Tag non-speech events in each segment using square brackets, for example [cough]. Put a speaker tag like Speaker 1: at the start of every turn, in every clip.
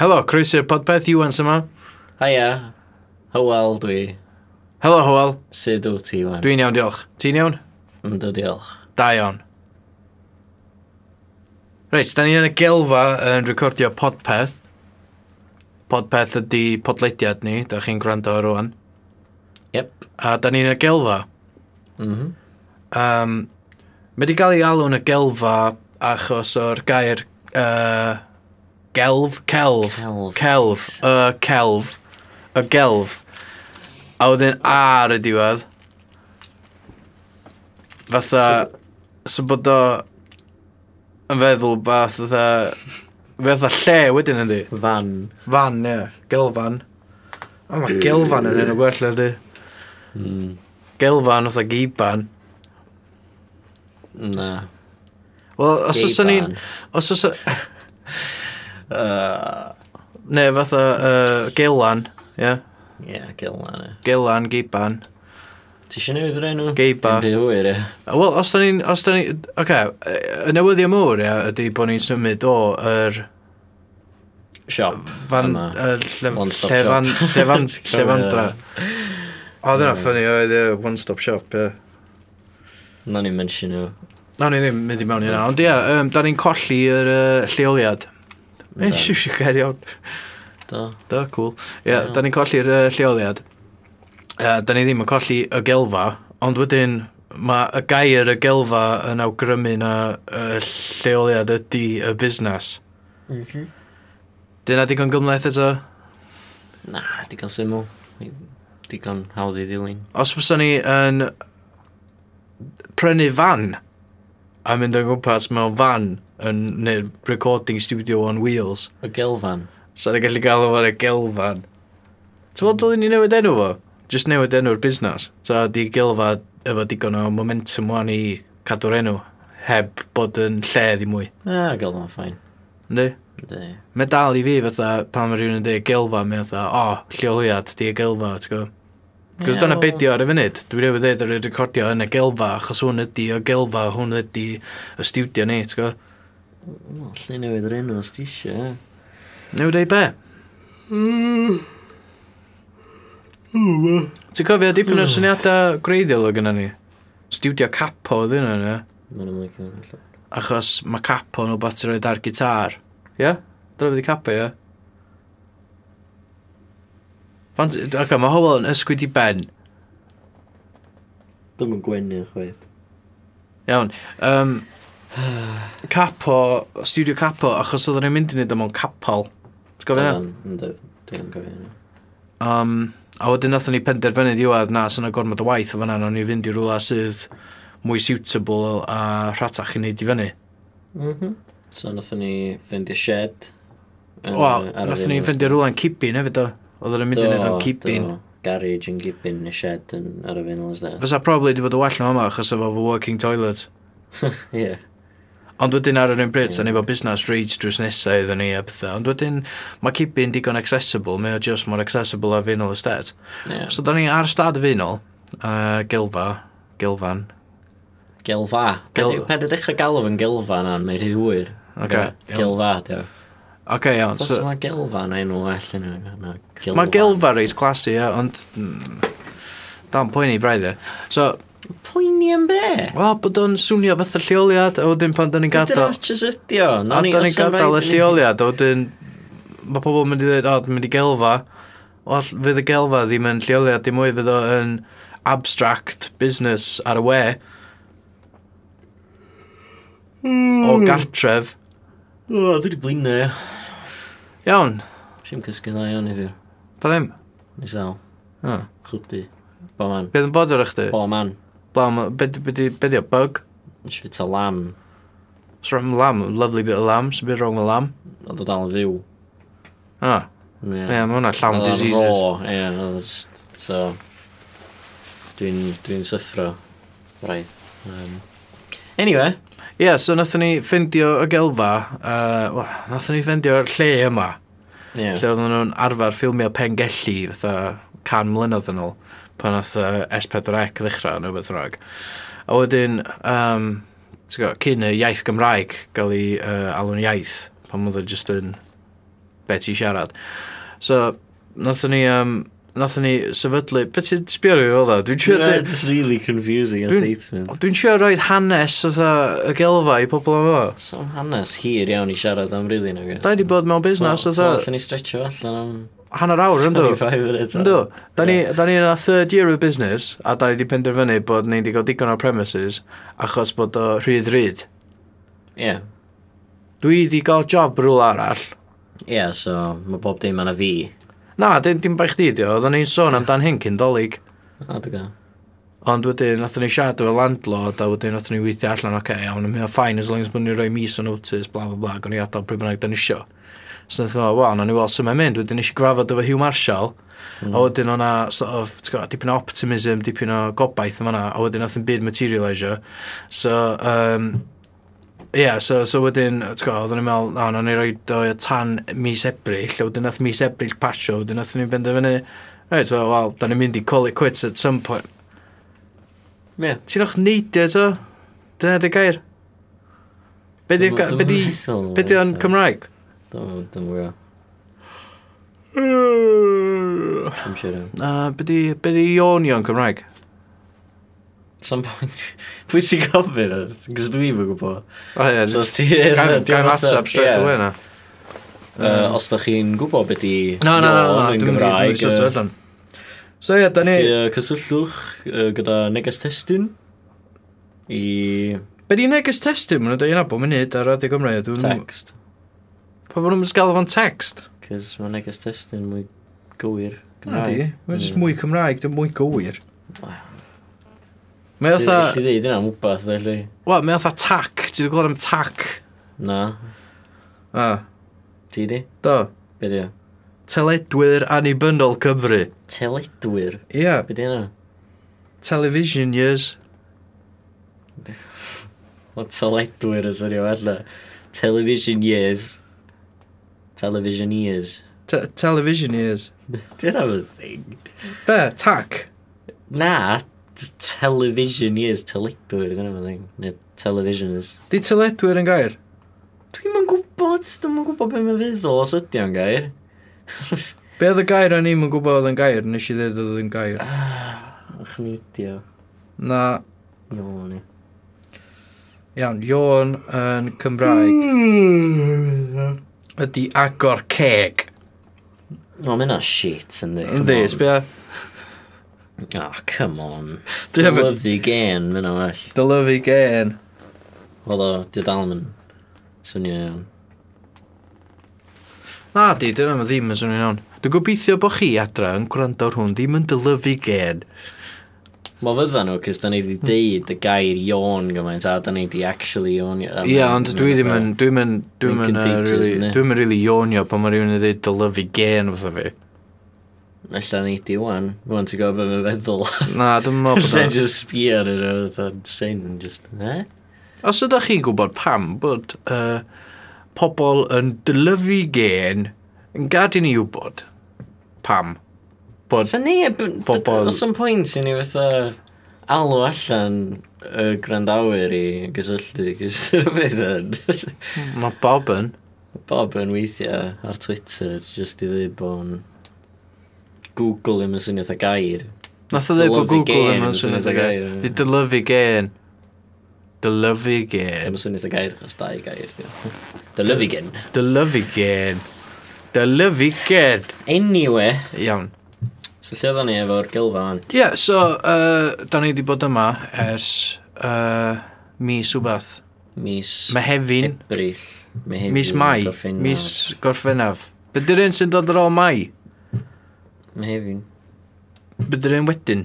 Speaker 1: Helo, croesi'r podpeth, Iwan yma.
Speaker 2: Haia, hywel dwi.
Speaker 1: Helo, Hwel.
Speaker 2: Sut wyt ti, man?
Speaker 1: Dwi'n iawn, diolch. Ti'n iawn?
Speaker 2: Ynddo diolch.
Speaker 1: Da iawn. Reit, da ni yn y gelfa yn recordio podpeth. Podpeth ydy podlediad ni, da chi'n gwrando ar rwan.
Speaker 2: Yep.
Speaker 1: A da ni'n y gelfa.
Speaker 2: Mm
Speaker 1: Mhm.
Speaker 2: -hmm.
Speaker 1: Um, mae wedi cael ei alw'n y gelfa achos o'r gair uh, gelf, celf,
Speaker 2: Celf.
Speaker 1: celf, y celf, y gelf. A wedyn ar y diwedd. Fatha, so bod o yn feddwl bath, fatha, fatha lle wedyn yndi.
Speaker 2: Fan.
Speaker 1: Fan, ie, gelfan. O, mae gelfan yn enw gwell ydi. Hmm.
Speaker 2: Mm.
Speaker 1: Gelfan, fatha giban.
Speaker 2: Na.
Speaker 1: Wel, os oes
Speaker 2: Gay
Speaker 1: ni'n...
Speaker 2: ban.
Speaker 1: Os
Speaker 2: [laughs]
Speaker 1: oes...
Speaker 2: Uh,
Speaker 1: Ne, fatha uh, gelan, ie. Yeah.
Speaker 2: Ie, yeah, gilna ni.
Speaker 1: Gelan, giban.
Speaker 2: Ti eisiau newid yr enw?
Speaker 1: Geiba.
Speaker 2: Dwi'n hwyr, ie.
Speaker 1: Wel, os da ni'n... Os da ni... Oce, okay, y newyddiau mwr, ie, ydy bod ni'n symud o yr...
Speaker 2: Siop.
Speaker 1: Fan...
Speaker 2: Yma.
Speaker 1: yr lle-
Speaker 2: One stop
Speaker 1: Llefan...
Speaker 2: shop.
Speaker 1: [laughs]
Speaker 2: Mm.
Speaker 1: Llefan...
Speaker 2: [laughs] Ti'n cofio?
Speaker 1: Llefandra. O, dyna ffynnu, oedd y one stop shop, ie.
Speaker 2: Na ni'n mention nhw.
Speaker 1: Na, ni ddim mynd i mewn i hynna. Ond ie, um, da ni'n colli yr uh, lleoliad. Mae'n siwsio gair iawn.
Speaker 2: Do.
Speaker 1: Da, cool. Ie, yeah, da ni'n colli'r uh, lleoliad. Uh, da ni ddim yn colli y gelfa, ond wedyn mae y gair y gelfa yn awgrymu na y lleoliad ydy y busnes. Mhm. Dyna digon gymleth eto?
Speaker 2: Na, digon syml. Digon hawdd i ddilyn.
Speaker 1: Os fysa ni yn prynu fan a mynd o'n gwmpas mewn fan yn neu recording studio on wheels,
Speaker 2: Y gelfan.
Speaker 1: sa'n ni'n gallu gael o'n y gelfan. Ti'n meddwl dylwn ni newid enw fo? Just newid enw'r busnes. So di gelfa efo digon o momentum wan i cadw'r enw heb bod yn lle ddim mwy.
Speaker 2: Ah, gelfan, ffain.
Speaker 1: Ynddi?
Speaker 2: Ynddi.
Speaker 1: Mae dal i fi fatha pan mae rhywun yn dweud gelfa, mae fatha, o, oh, lleoliad, di y gelfa, ti'n gwybod? Cos
Speaker 2: Ie,
Speaker 1: dyna
Speaker 2: wel-
Speaker 1: bedio ar y funud. Dwi wedi dweud ar y recordio yn y gelfa, achos hwn ydi y gelfa, hwn ydi y studio ni, ti'n gwybod?
Speaker 2: Wel, Lle newid yr enw os ti eisiau, ie.
Speaker 1: Newid ei be? Ti'n cofio dipyn o'r syniadau greiddiol o gynna ni? Studio capo oedd hynna, ne?
Speaker 2: Mae'n ymwneud gyda'r
Speaker 1: Achos mae capo nhw bat i roed ar gitar. Ie? Yeah? Dyna wedi capo, ie? Fant... Ac mae Howell yn ysgwyd i ben.
Speaker 2: Dwi'n yn gwenu chwaith.
Speaker 1: Iawn. Um, [sighs] capo, studio capo, achos oedden ni'n mynd i wneud o mewn capal. Ti'n gofio hynna?
Speaker 2: Dwi'n gofio hynna.
Speaker 1: Um, a wedyn nathon ni penderfynu diwedd na, sy'n gormod o waith o fanna, o'n i fynd i rhywle sydd mwy suitable a rhatach i wneud i fyny.
Speaker 2: Mhm. So nathon ni ffeindio shed. yn,
Speaker 1: Wel,
Speaker 2: yy, ar yr
Speaker 1: nathon ni
Speaker 2: enw.
Speaker 1: fynd i rhywle yn cipin hefyd o. Oedden ni'n mynd i wneud o'n
Speaker 2: Do,
Speaker 1: cipin.
Speaker 2: do. Garage yn cipin neu shed yn ar y fenol ysdedd.
Speaker 1: Fysa probably di fod o well na yma, achos efo fy working toilet.
Speaker 2: [laughs] Ie.
Speaker 1: Ond wedyn ar yr un bryd, sa'n efo busnes reid drws nesau iddyn ni a pethau. Ond wedyn, mae cipin digon accessible, mae o just mor accessible a finol estate.
Speaker 2: Ie.
Speaker 1: So, da ni ar stad finol, uh, gilfa, gilfan.
Speaker 2: Gelfa.
Speaker 1: Gel-
Speaker 2: Gel... Ped y dechrau galw yn gelfa na, mae'n rhy hwyr.
Speaker 1: Oce,
Speaker 2: Ie, Gelfa, diw.
Speaker 1: OK, iawn.
Speaker 2: Plus
Speaker 1: So,
Speaker 2: mae gelfa na enw well yn yna.
Speaker 1: mae gilfa reis clasu, ie, ond... mm, Dan poeni braidd e. So,
Speaker 2: Poeni yn be?
Speaker 1: wel, bod o'n swnio fatha lleoliad, a wedyn pan da ni'n
Speaker 2: Dyna
Speaker 1: gadael...
Speaker 2: chys ydi o.
Speaker 1: A da ni'n gadael y lleoliad, a wedyn... Mae pobl yn mynd i ddweud, o, dwi'n mynd i gelfa. Wel, fydd y gelfa ddim yn lleoliad, dim mwy fydd o'n abstract business ar y we. O gartref.
Speaker 2: Hmm. O, dwi wedi blino, ie.
Speaker 1: Iawn,
Speaker 2: Si'n cysgu dda iawn i ti.
Speaker 1: pa ddim?
Speaker 2: Nes al.
Speaker 1: Ah.
Speaker 2: Chwbdi. Bo man.
Speaker 1: Beth yn bod ar chdi?
Speaker 2: Bo man.
Speaker 1: Blaw, ma- be be- be- be di o, bug?
Speaker 2: Nes fi ta lam.
Speaker 1: It's from lamb, lovely bit of lamb, so bit wrong with lamb.
Speaker 2: O dod al yn fyw.
Speaker 1: Ah,
Speaker 2: Ie.
Speaker 1: yeah, mae hwnna
Speaker 2: Oedd
Speaker 1: llawn
Speaker 2: o'n
Speaker 1: diseases.
Speaker 2: raw, Ie, oedd o'n jyst- so... Dwi'n dwi'n syffro. Right. Um, anyway.
Speaker 1: Yeah, so nathon ni ffindio y gelfa, uh, wel, nathon ni ffindio'r lle yma,
Speaker 2: Ie.
Speaker 1: lle oedden nhw'n arfer ffilmio pengelli, fatha can mlynedd yn ôl, pan nath uh, S4C ddechrau neu beth rhag. A wedyn, um, ti'n gwybod, cyn y iaith Gymraeg gael ei uh, alw'n iaith, pan oedd o jyst yn be ti siarad. So, nathon ni, um, nathon ni sefydlu... Be ti'n sbio ar fi fel dda? Dwi'n siarad...
Speaker 2: It's just really confusing as
Speaker 1: Dwi'n-
Speaker 2: statement.
Speaker 1: Dwi'n siarad rhoi hanes oedd y gelfa i pobl yma.
Speaker 2: So hanes hir iawn i siarad am rili nag oes?
Speaker 1: Da i di bod mewn busnes
Speaker 2: Wel,
Speaker 1: oedd
Speaker 2: wel, Allwn ni stretcho allan am
Speaker 1: hanner awr yn dod.
Speaker 2: 25 minutes.
Speaker 1: Ynddo, da ni da ni yn a third year of business a da ni wedi penderfynu bod ni wedi cael digon o premises achos bod o rhydd rhydd.
Speaker 2: Ie.
Speaker 1: Dwi wedi cael job rhywle arall.
Speaker 2: Ie, so mae bob dim yna fi.
Speaker 1: Na, dim, dim bai chdi di o, oedden ni'n sôn amdan hyn cyn dolyg.
Speaker 2: A dy gael.
Speaker 1: Ond wedyn, nath ni siarad efo landlord, a wedyn nath ni weithio allan, oce, okay, iawn, mae'n ffain, as long as bod ni'n rhoi mis o notice, bla bla bla, gan i adael pryd bynnag dyn isio. So nath o, wel, na ni weld sy'n mynd mynd, wedyn eisiau grafod efo Hugh Marshall, mm. a wedyn o'na, sort of, ti'n gwbod, dipyn o optimism, dipyn o gobaith yma na, a wedyn nath yn byd materialisio. So, um, Ie, yeah, so, so wedyn, ti'n gwybod, oedden ni'n meddwl, na, na ni roi o tan mis Ebrill, a wedyn nath mis Ebrill pasio, wedyn nath ni'n benderfynu, reit, wel, well, da ni'n mynd i call it quits at some point.
Speaker 2: Ie.
Speaker 1: Ti'n o'ch neidio eto? Dyna dy gair? Be di,
Speaker 2: Dwi'm-
Speaker 1: be di,
Speaker 2: dwi'm yn meddwl,
Speaker 1: be di o'n
Speaker 2: so.
Speaker 1: Cymraeg?
Speaker 2: Dwi'n gwybod.
Speaker 1: Uh,
Speaker 2: Dwi'n siŵr iawn.
Speaker 1: be di, be di ionio yn Cymraeg?
Speaker 2: Some point. [laughs] Pwy sy'n gofyn? Cos dwi'n gwybod.
Speaker 1: O ie,
Speaker 2: So os ti...
Speaker 1: gaim
Speaker 2: [laughs] diolch
Speaker 1: gaim
Speaker 2: fatha-
Speaker 1: atab straight
Speaker 2: Ie.
Speaker 1: away Mm. na.
Speaker 2: Yy, Os da chi'n gwybod beth i...
Speaker 1: No, no, no, no,
Speaker 2: yn
Speaker 1: dwi'n mynd i- dwi'n mynd i
Speaker 2: Gymraeg,
Speaker 1: sortio
Speaker 2: yy,
Speaker 1: allan. So ie, da ni,
Speaker 2: Felly, yy, cysylltwch yy, gyda neges testyn i
Speaker 1: be di neges testyn mwyn yna bod munud ar Radio Cymru? Dwi'n-
Speaker 2: text.
Speaker 1: Pa bod nhw'n sgal fo'n text?
Speaker 2: Cys mae neges testyn mwy gywir.
Speaker 1: Na di, mae'n jyst
Speaker 2: Mm.
Speaker 1: mwy Cymraeg, dim mwy gywir.
Speaker 2: Wel.
Speaker 1: Mae
Speaker 2: Dwi'n gallu
Speaker 1: otha,
Speaker 2: dweud yna am wbath, felly.
Speaker 1: wel, mae otha tac, ti wedi gweld am tac?
Speaker 2: Na,
Speaker 1: Ah,
Speaker 2: ti di?
Speaker 1: do.
Speaker 2: Be di o?
Speaker 1: Teledwyr annibynnol Cymru.
Speaker 2: Teledwyr.
Speaker 1: Ia, yeah,
Speaker 2: Be di yna?
Speaker 1: television years.
Speaker 2: O teledwyr yn swnio well Television years. Television years.
Speaker 1: Te television years.
Speaker 2: Dwi'n am y thing.
Speaker 1: Be, tac?
Speaker 2: Na, just television years, teledwyr, dyna mae'n thing. Neu televisioners.
Speaker 1: Di teledwyr yn gair?
Speaker 2: Dwi'n ma'n gwybod, dwi'n ma'n gwybod beth mae'n feddwl os ydy o'n gair.
Speaker 1: Be oedd y gair o'n i'm yn gwybod oedd yn gair, nes i ddweud oedd yn gair.
Speaker 2: Ach, nidio.
Speaker 1: Na,
Speaker 2: Iawn ni.
Speaker 1: iawn, iawn yn Cymraeg ydi agor ceg.
Speaker 2: O, mae yna shit yn di.
Speaker 1: Yndi, sbia,
Speaker 2: Oh, come on.
Speaker 1: Dyna
Speaker 2: Dwi'n
Speaker 1: fe-
Speaker 2: lyfu gen, mae yna well.
Speaker 1: dylyfu gen.
Speaker 2: Oedd o, dwi'n dal yn swnio iawn.
Speaker 1: Na di, dyna mae ddim yn swnio'n iawn. Dwi'n gobeithio bod chi adra yn gwrando ar hwn ddim yn dylyfu gen.
Speaker 2: Mae fydda nhw, cys da ni wedi deud y gair yawn gymaint, a da ni wedi actually yawn.
Speaker 1: Ie, yeah, ond dwi ddim yn, dwi'n mynd, dwi'n
Speaker 2: Mae'n
Speaker 1: mynd,
Speaker 2: contagious,
Speaker 1: really,
Speaker 2: yndi?
Speaker 1: dwi'n mynd really ionio pan mae rhywun yn dweud dylyfu gen fatha fi.
Speaker 2: Alla ni di wan, wan ti'n gwybod beth mae'n feddwl. [laughs]
Speaker 1: Na, dwi'n meddwl bod
Speaker 2: Alla
Speaker 1: o'n...
Speaker 2: just sbio ar yr oedd o'n sy'n, just, eh?
Speaker 1: Os ydych chi'n gwybod pam bod uh, pobl yn dylyfu gen yn gadw ni wybod pam bod...
Speaker 2: Sa ni e... b-
Speaker 1: Bobol-
Speaker 2: b- Os yn pwynt i ni fatha alw allan y grandawyr i gysylltu, cys [laughs] dyna beth yn. [laughs]
Speaker 1: Mae Bob yn...
Speaker 2: Bob yn weithiau ar Twitter, just i ddweud bod Google ddim yn swnio a gair.
Speaker 1: Nath o ddeud bod
Speaker 2: Dylyfu
Speaker 1: Google
Speaker 2: gen
Speaker 1: ddim
Speaker 2: yn
Speaker 1: yn swnio
Speaker 2: swnio
Speaker 1: dda gair.
Speaker 2: fatha gair,
Speaker 1: Di dylyfu gen. Dylyfu gen.
Speaker 2: Ddim yn swnio a gair, achos da i gair. dio. [laughs] Dylyfu gen.
Speaker 1: Dylyfu gen. Dylyfu gen.
Speaker 2: Anyway,
Speaker 1: Iawn.
Speaker 2: so lle oedden ni efo'r gylfa fan?
Speaker 1: Ie, yeah, so, uh, da ni wedi bod yma ers uh, mis wbath.
Speaker 2: Mis...
Speaker 1: Mae hefin,
Speaker 2: Ebrill. Mehefin,
Speaker 1: mis mai,
Speaker 2: Gorffennaf.
Speaker 1: mis gorffennaf. Be dy'r un sy'n dod ar ôl mai?
Speaker 2: Mehefin.
Speaker 1: Be dy'r un wedyn?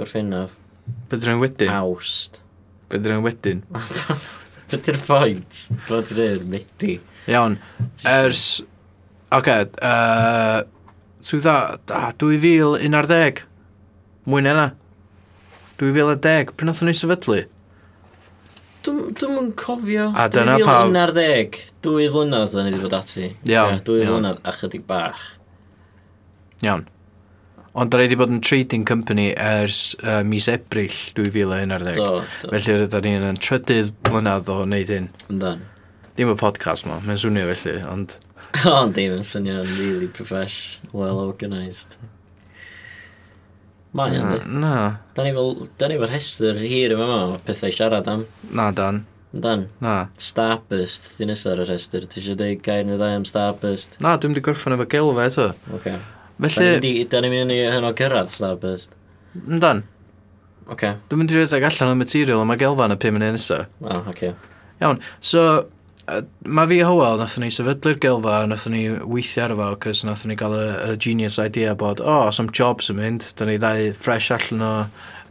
Speaker 2: Gorffennaf.
Speaker 1: Be dy'r un wedyn?
Speaker 2: Awst. [laughs]
Speaker 1: Be dy'r un wedyn?
Speaker 2: Beth yw'r ffaint? Bod yr un medi.
Speaker 1: Iawn, ers... Oce, okay, uh, 2011. Mwy na yna. 2010, pryd nath o'n ei sefydlu?
Speaker 2: Dwi'n yn cofio.
Speaker 1: A dyna pawb.
Speaker 2: 2011. Dwy flynedd da ni wedi bod ati.
Speaker 1: Iawn,
Speaker 2: Ie, Dwy
Speaker 1: iawn.
Speaker 2: flynedd a chydig bach.
Speaker 1: Iawn. Ond da ni wedi bod yn trading company ers uh, mis Ebrill 2011.
Speaker 2: Do, do.
Speaker 1: Felly rydyn ni'n yn trydydd mlynedd o wneud hyn.
Speaker 2: Yndan. [laughs]
Speaker 1: Dim y podcast ma, mae'n swnio felly, ond...
Speaker 2: Ond dim yn swnio'n really profesh, well organised. Mae o'n di.
Speaker 1: Na,
Speaker 2: Da ni fel, da ni fel hester hir yma o pethau i siarad am.
Speaker 1: na Dan,
Speaker 2: Dan,
Speaker 1: na.
Speaker 2: Starburst, di nesaf ar y rhestr. Ti eisiau dweud gair neu ddau am Starburst?
Speaker 1: Na, dwi'n di gorffen efo gilfa eto.
Speaker 2: Oce.
Speaker 1: Felly,
Speaker 2: Okay. Da ni'n mynd i hyn o gyrraedd Starburst.
Speaker 1: Dan,
Speaker 2: Oce. Okay.
Speaker 1: dwi'n mynd i redeg allan o'r material yma gelfa yn y 5 munud nesaf.
Speaker 2: O, oh, oce. Okay.
Speaker 1: Iawn, so, yy, mae fi a Howell, nathon ni sefydlu'r gilfa, nathon ni weithio ar efo, cos nathon ni gael y, y genius idea bod, o, oh, some jobs yn mynd, da ni ddau fresh allan o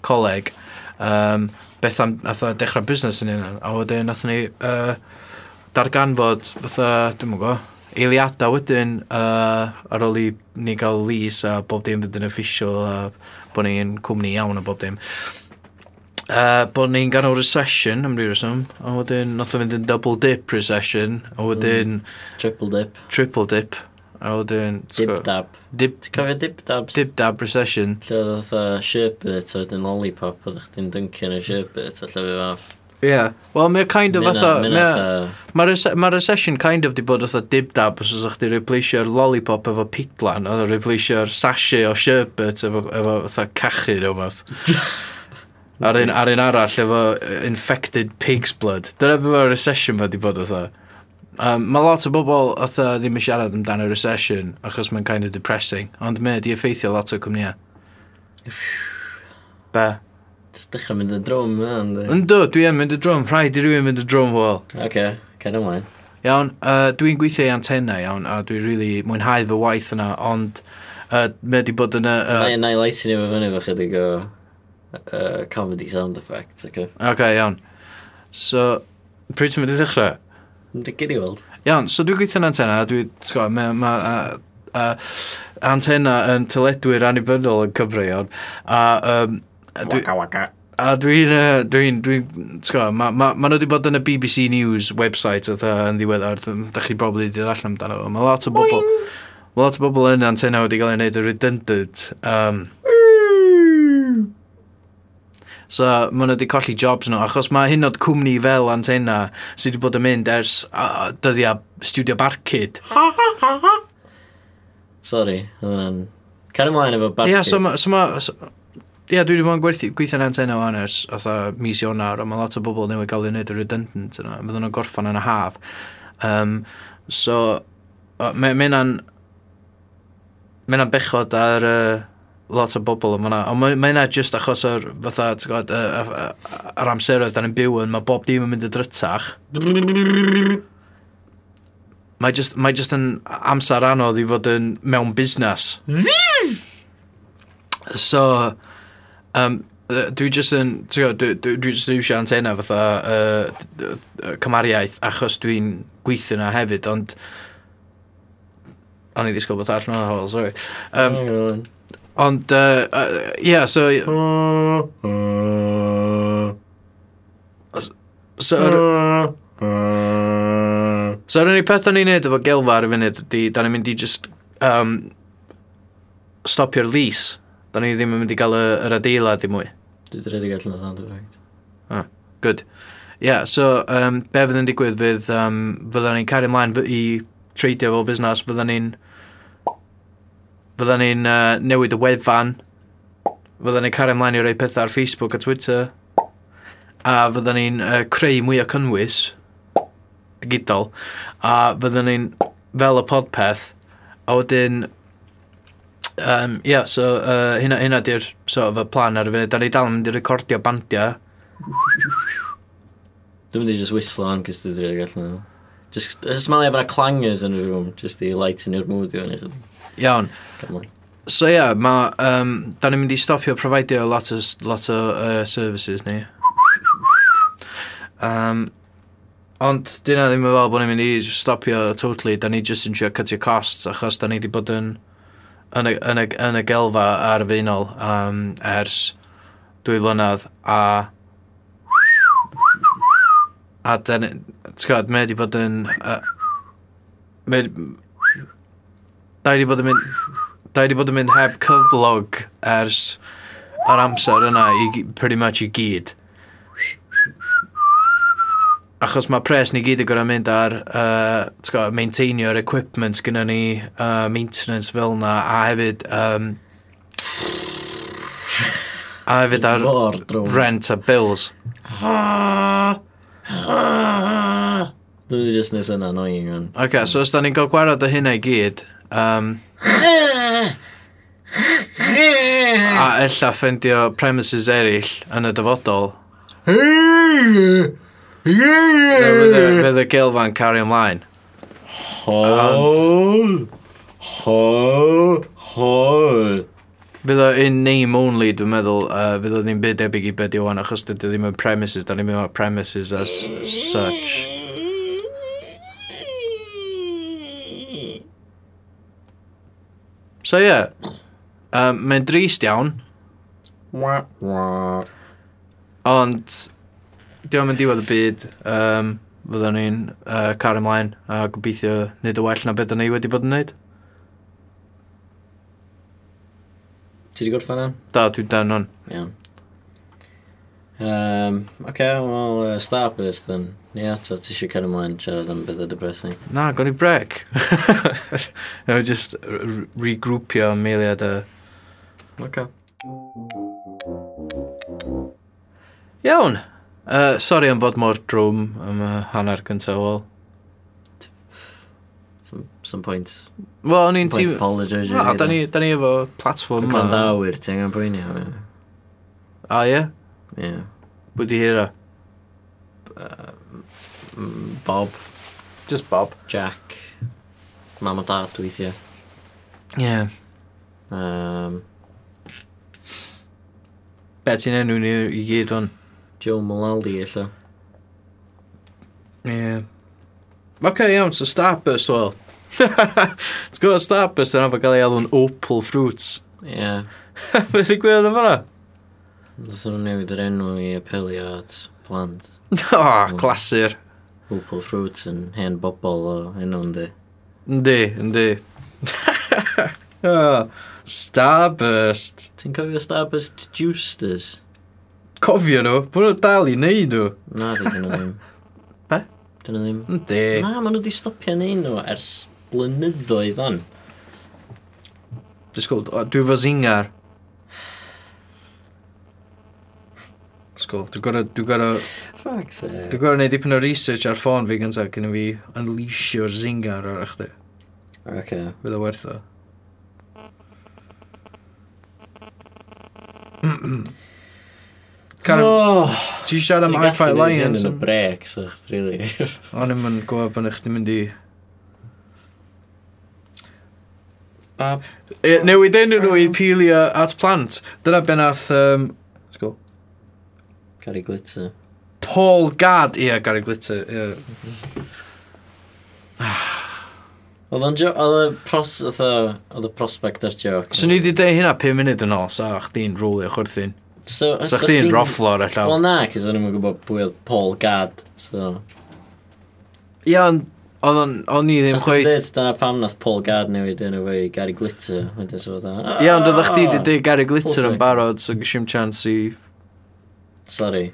Speaker 1: coleg, um, beth am, nathon ni dechrau busnes yn unan, a wedyn nathon ni uh, darganfod, fatha, dwi'n mwyn go, eiliadau wedyn uh, ar ôl i ni gael lease a bob dim fydd yn official a bod ni'n cwmni iawn a bob dim uh, bod ni'n ganol recession am ryw reswm, a wedyn nath o fynd yn double dip recession, a wedyn mm.
Speaker 2: Triple dip.
Speaker 1: triple dip, a wedyn...
Speaker 2: Dip dab.
Speaker 1: dip,
Speaker 2: Ti'n cofio dip dabs?
Speaker 1: dip dab recession.
Speaker 2: Lle oedd fatha sherbet a wedyn lollipop oedd chdi'n dyncio yn y sherbet a lle fi fath.
Speaker 1: Ie. Yeah. Wel, mae'n kind of fatha... Mae
Speaker 2: fatha...
Speaker 1: ma rese- ma recession kind of di bod fatha dip dab, os oes chdi repleisio'r lollipop efo pitlan, a repleisio'r sachet o sherbet efo, efo fatha cachu neu beth. Ar un, ar un arall efo uh, infected pig's blood. Dyna beth mae'r recession fe di bod fatha. Um, mae lot o bobl fatha ddim yn siarad amdano recession, achos mae'n kind of depressing, ond mae di effeithio lot o cwmnïau. Be?
Speaker 2: Just dechrau mynd yn drwm yna, ynddi?
Speaker 1: Ynddo, dwi yn mynd y drom, rhaid i rywun mynd y drom fel.
Speaker 2: Oce, cael ymlaen.
Speaker 1: Iawn, uh, dwi'n gweithio i antenna iawn, a dwi'n really mwynhau fy waith yna, ond uh, mae wedi bod yn y...
Speaker 2: Na
Speaker 1: Uh,
Speaker 2: i light ni efo fyny fo chydig o uh, comedy sound effects, oce?
Speaker 1: OK, iawn. So, pryd ti'n mynd i ddechrau?
Speaker 2: Ynddi gyd i weld.
Speaker 1: Iawn, so dwi'n gweithio'n antenna, dwi, ti'n gwybod, mae ma, uh, uh, antenna yn tyledwyr annibynnol yn Cymru, iawn. A, um, dwi,
Speaker 2: Waka waka.
Speaker 1: a dwi'n, uh, dwi'n, dwi, ti'n gwybod, ma, ma, ma nhw wedi bod yn y BBC News website oedd yn ddiweddar, Dwi'n- dach chi probably wedi dod allan amdano fo. Mae lot o bobl, mae lot o bobl yn antenna wedi cael ei wneud yn redundant. Um, So maen nhw wedi colli jobs nhw, achos mae hyn oed cwmni fel antenna sydd wedi bod yn mynd ers uh, dyddiau studio barcud.
Speaker 2: Sorry, oedd hwnna'n... Cael ymlaen efo barcud.
Speaker 1: Ie, yeah, so ma... So ma so, Ie, yeah, dwi wedi bod yn gwerthu- gweithio'n antenna o aners, otha mis Ionar, a mae lot o bobl newydd gael ei wneud y redundant yna. Fydden nhw'n gorffan yn y haf. Um, so, o, mae ma hynna'n... Mae hynna'n bechod ar uh, lot o bobl yma na. Ond mae ma hynna jyst achos o'r, fatha, ti'n gwybod, uh, uh, yr amseroedd dan yn byw yn, mae bob dim yn mynd y drytach. Mae just, mae just yn amser anodd i fod yn mewn busnes. So, um, yy, dwi just yn, ti'n gwybod, dwi, dwi, dwi just yn iwsio antenna fatha uh, d- d- cymariaeth achos dwi'n gweithio na hefyd, ond o'n i ddisgwyl bod allan o'n hol, sorry. Um,
Speaker 2: Um,
Speaker 1: ond, yy, yy, ie, so, so, yr- So yr unig peth o'n i'n neud efo gelfa ar y funud ydy, da ni'n mynd i just um, stopio'r lease. Da ni ddim yn mynd i gael y- yr adeilad i mwy.
Speaker 2: Dwi'n rhaid i gael yn sound effect.
Speaker 1: Good. Ie, yeah, so um, be fydd yn digwydd fydd, um, fydda ni'n cario ymlaen fy- i treidio fel busnes, fydda ni'n fydda ni'n uh, newid y wefan, fydda ni'n cario ymlaen i roi pethau ar Facebook a Twitter, a fydda ni'n uh, creu mwy o cynnwys, digidol, a fydda ni'n fel y podpeth, a wedyn Um, yeah, so uh, hynna, hynna di'r sort of y plan ar y funud. Da ni dal yn mynd i recordio bandiau.
Speaker 2: Dwi'n mynd i just whistle on, cys dwi'n rhaid i gael yn Just, just mael i bod clangers yn y room, just i lighten your mood i fyny. chydig.
Speaker 1: Iawn.
Speaker 2: Cael ymlaen.
Speaker 1: So ie, yeah, mae... Um, da ni'n mynd i stopio profidio lot o, lot o uh, services ni. Um, ond dyna ddim yn fel bod ni'n mynd i stopio totally. Da ni just yn trio cutio costs achos da ni wedi bod yn, yn, y, yn, y, yn y gelfa ar y feinol um, ers dwy flynedd a... A da ni... T'w gwybod, mae wedi bod yn... Uh, mae... Da ni wedi bod yn mynd... Da wedi bod yn mynd heb cyflog ers yr amser yna i, gy- pretty much i gyd. achos mae pres ni gyd yn gorau mynd ar uh, go, maintainio'r equipment gyda ni, uh, maintenance fel na, a hefyd... Um, a hefyd ar
Speaker 2: Mor drwm.
Speaker 1: rent a bills.
Speaker 2: Dwi'n mynd i just nes yna annoying yn.
Speaker 1: Ok, so os da ni'n cael gwarad o hynna i gyd, um, a ella ffendio premises eraill yn y dyfodol, fe
Speaker 2: e-
Speaker 1: fydd y- fydd y gilfa'n cario ymlaen.
Speaker 2: Hol. Hol. Hol.
Speaker 1: Fydd o in name only, dwi'n meddwl, uh, fydd o ddim byd debyg i beth i o'n, achos dydy o ddim yn premises, da ni'n mynd o'r premises as such. So ie, yeah. um, mae'n drist iawn,
Speaker 2: Wah, wah.
Speaker 1: ond diolch yn diwedd y byd, um, fyddwn ni'n uh, car ymlaen a gobeithio wneud y well na beth o'n ni wedi bod yn wneud.
Speaker 2: Ti di gorffan am?
Speaker 1: Da, dwi'n dan hwn.
Speaker 2: Iawn. Um, OK, wel, uh, Starburst then. Ie, ta, ti eisiau cael ymlaen siarad am bethau depressing.
Speaker 1: Na, gon i [laughs] brec. Neu just r- regroupio meiliad y...
Speaker 2: OK.
Speaker 1: Iawn. Uh, sorry am fod mor drwm am y hanner cyntaf ôl.
Speaker 2: Some, some points.
Speaker 1: Wel, o'n i'n
Speaker 2: Some points
Speaker 1: tîm...
Speaker 2: apologise.
Speaker 1: Na, da ni, da ni efo platform
Speaker 2: Dwi'n
Speaker 1: yma.
Speaker 2: glandawyr, ti'n angen poeni am hynny.
Speaker 1: A ie,
Speaker 2: Ie.
Speaker 1: bwyd i hira.
Speaker 2: Mm, Bob,
Speaker 1: Just Bob.
Speaker 2: Jack, mam a dad weithiau.
Speaker 1: Ie. Yeah.
Speaker 2: Um,
Speaker 1: Be ti'n enw ni i gyd hwn?
Speaker 2: Joe Malaldi, illa.
Speaker 1: Ie. Yeah. Ok, iawn, so Starburst, wel. [laughs] T'w gwybod Starburst yna fod gael ei alw'n Opal Fruits? [laughs]
Speaker 2: Ie. Yeah.
Speaker 1: Fe di gwybod yn fanna?
Speaker 2: Nothen nhw newid yr enw i apelio at plant.
Speaker 1: O, clasur.
Speaker 2: Opal Fruits yn hen bobl o enw yndi.
Speaker 1: Yndi, yndi. [laughs] O, Starburst.
Speaker 2: Ti'n cofio Starburst Juicers?
Speaker 1: Cofio nhw, bwyd nhw dal i neud nhw.
Speaker 2: Na, di dyn nhw ddim.
Speaker 1: [laughs] Be?
Speaker 2: Dyn nhw ddim.
Speaker 1: Yndi.
Speaker 2: Na, maen nhw wedi stopio neud nhw ers blynyddoedd on.
Speaker 1: Disgwyl, o, dwi fo zingar. Disgwyl, dwi gorau, dwi gorau,
Speaker 2: Fuck se.
Speaker 1: dwi gorau neud dipyn o research ar ffôn fi gyntaf cyn i fi unleashio'r zingar o'r eich di.
Speaker 2: Ok.
Speaker 1: Fydd o werth o. [clears throat] Cara,
Speaker 2: Oh,
Speaker 1: ti siarad am I Fight Lions?
Speaker 2: yn y brec, sych, really.
Speaker 1: O'n i'm yn gwybod bod eich di mynd i...
Speaker 2: Bab.
Speaker 1: E, newid enw nhw i pilio at plant. Dyna be nath um, sgol,
Speaker 2: Cari glitzer.
Speaker 1: Paul Gad. Ie, Gary Glitter. Ie.
Speaker 2: Oedd o'n jo- oedd y pros, oedd y- oedd y prospect ar joc.
Speaker 1: So ni wedi dweud hynna 5 munud yn ôl, so chdi'n rwlio chwrthyn.
Speaker 2: So,
Speaker 1: So chdi'n rofflo'r
Speaker 2: Wel
Speaker 1: allan.
Speaker 2: na, cys o'n i'n gwybod pwy oedd Paul Gad, so...
Speaker 1: Ie, ond oedd o'n- o'n i ddim
Speaker 2: So chdi'n
Speaker 1: chweith...
Speaker 2: dweud, Dyna pam nath Paul Gad newid yn efo i Gary Glitter, wedyn so fatha...
Speaker 1: Ie, ond oedd chdi wedi dweud Gary
Speaker 2: Paul
Speaker 1: Glitter
Speaker 2: Sagan.
Speaker 1: yn barod, so gysim chance i...
Speaker 2: Sorry.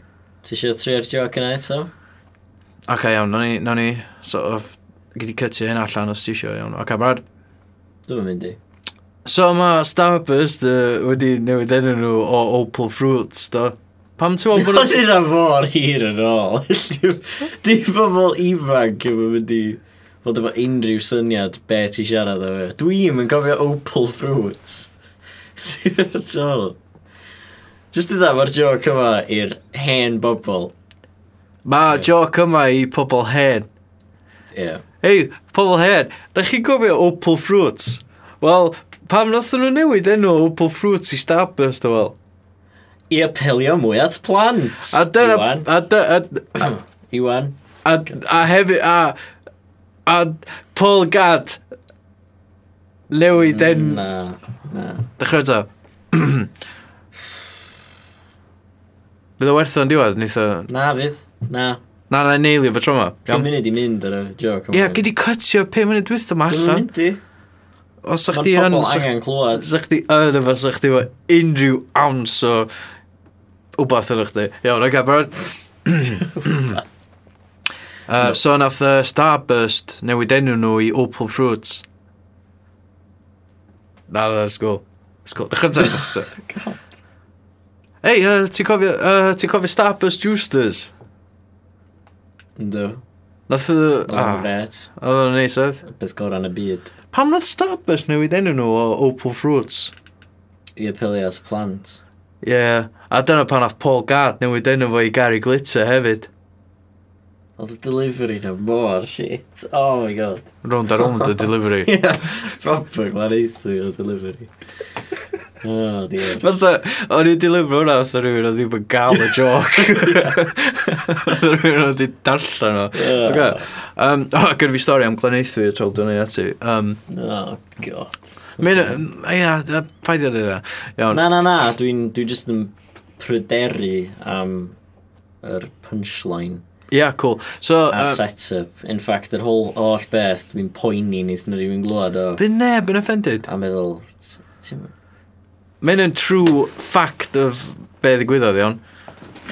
Speaker 2: Ti eisiau trio'r joc yna eto?
Speaker 1: Ok, iawn, nawn ni, nawn ni, sort of, gyda cytio hyn allan os ti eisiau, iawn. Ok, brad.
Speaker 2: Dwi'n mynd i.
Speaker 1: So mae Starburst uh, wedi newid enw nhw o Opal Fruits, do. Pam ti'n meddwl bod...
Speaker 2: [laughs] Oedd hynna mor hir yn ôl. [laughs] Di- Di pobl ifanc yn mynd i fod efo unrhyw syniad be ti siarad o fe. Dwi'n yn cofio opal fruits. [laughs] Tol. Just yna mae'r joc yma i'r hen bobl.
Speaker 1: Mae joc yma i pobl hen.
Speaker 2: Ie. Yeah.
Speaker 1: Hei, pobl hen, da chi'n gofio Opal Fruits? Wel, pam nathon nhw newid enw Opal Fruits i Starburst o fel?
Speaker 2: I apelio mwy at plant.
Speaker 1: A dyna...
Speaker 2: Iwan.
Speaker 1: A, dy- a,
Speaker 2: Iwan.
Speaker 1: a, a hefyd... A, a Paul Gad newid enw...
Speaker 2: Mm, Na. Na.
Speaker 1: Dechrau eto. [clears throat] Bydd o werth o'n diwedd, nith o...
Speaker 2: Na fydd. Na.
Speaker 1: Na, na, neilio fy troma.
Speaker 2: Pum
Speaker 1: Iawn.
Speaker 2: munud i mynd ar y joc
Speaker 1: Ie, gyd i cytio 5 munud dwi'n yma
Speaker 2: Dwi'n
Speaker 1: allan.
Speaker 2: mynd i.
Speaker 1: Os ych
Speaker 2: Mae
Speaker 1: di yn...
Speaker 2: pobl
Speaker 1: os ych-
Speaker 2: angen clywed.
Speaker 1: Sa chdi yn efo, sa chdi efo unrhyw awns o wbath yn chdi. Iawn, o'r gabarod. Uh, so nath uh, Starburst newid enw nhw i Opal Fruits. Na, na, sgol. Sgol. Dechrau ta, dechrau ta. [laughs] Ei, uh, ti'n cofio, uh, ti cofio Starburst Juicers?
Speaker 2: Ynddo.
Speaker 1: Nath... Uh,
Speaker 2: Ah.
Speaker 1: ah,
Speaker 2: Bet.
Speaker 1: Oedd o'n neis oedd.
Speaker 2: Beth gorau yn y byd.
Speaker 1: Pam nath Starburst newid enw nhw o Opal Fruits?
Speaker 2: I apelio at y plant.
Speaker 1: Ie. Yeah. A dyna pan nath Paul Gard newid enw fo i Gary Glitter hefyd.
Speaker 2: Oedd y delivery na mor shit. Oh my god.
Speaker 1: Round a round y
Speaker 2: [laughs]
Speaker 1: delivery.
Speaker 2: Ie. Proper glaneithi o
Speaker 1: [laughs]
Speaker 2: delivery. Oh dear.
Speaker 1: Fatha, o'n i'n dilifro hwnna, fatha rhywun oedd ddim yn gael y joc. Fatha rhywun oedd wedi darllen o.
Speaker 2: Ie.
Speaker 1: Ocê. Um, o, oh, gyda fi stori am Gleneithwy y tro dwi'n ei ati. Um,
Speaker 2: Oh god.
Speaker 1: Mae'n, ia, paid i'r dda. Iawn.
Speaker 2: Na na na, dwi'n dwi just yn pryderu am yr punchline
Speaker 1: Ia, cool. So,
Speaker 2: a'r
Speaker 1: um,
Speaker 2: setup. In fact, yr whole all beth dwi'n poeni neith na rhywun glwad o.
Speaker 1: Dyn neb yn offended.
Speaker 2: A meddwl, t- ti'n-
Speaker 1: Mae'n yn true fact of be ddigwyddodd, iawn.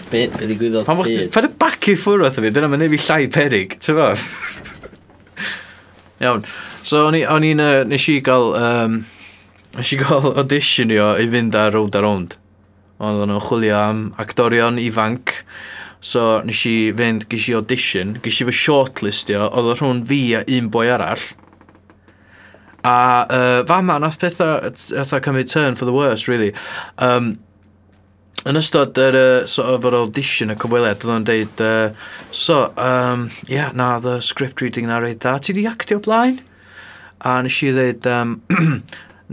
Speaker 2: be be ddigwyddodd
Speaker 1: Pan
Speaker 2: byd?
Speaker 1: bod y bac i ffwrdd wrth fi, dyna mae'n neud fi llai perig, ti'n fawr? Iawn, so o'n i- o'n i'n, yy, nes i gael, um, nes i gael [laughs] auditionio i fynd ar Road Around. Ond o'n nhw'n chwilio am actorion ifanc, so nes i fynd, ges i audition, ges i fy shortlistio, oedd o rhwng fi a un boi arall. A uh, fama nath pethau, pethau cymryd turn for the worst, really. Um, Yn ystod yr uh, sort of yr audition y cyfweliad, oedd o'n deud, uh, so, um, yeah, na, the script reading na reid da, ti di actio blaen? A nes i ddeud, um, [clears throat]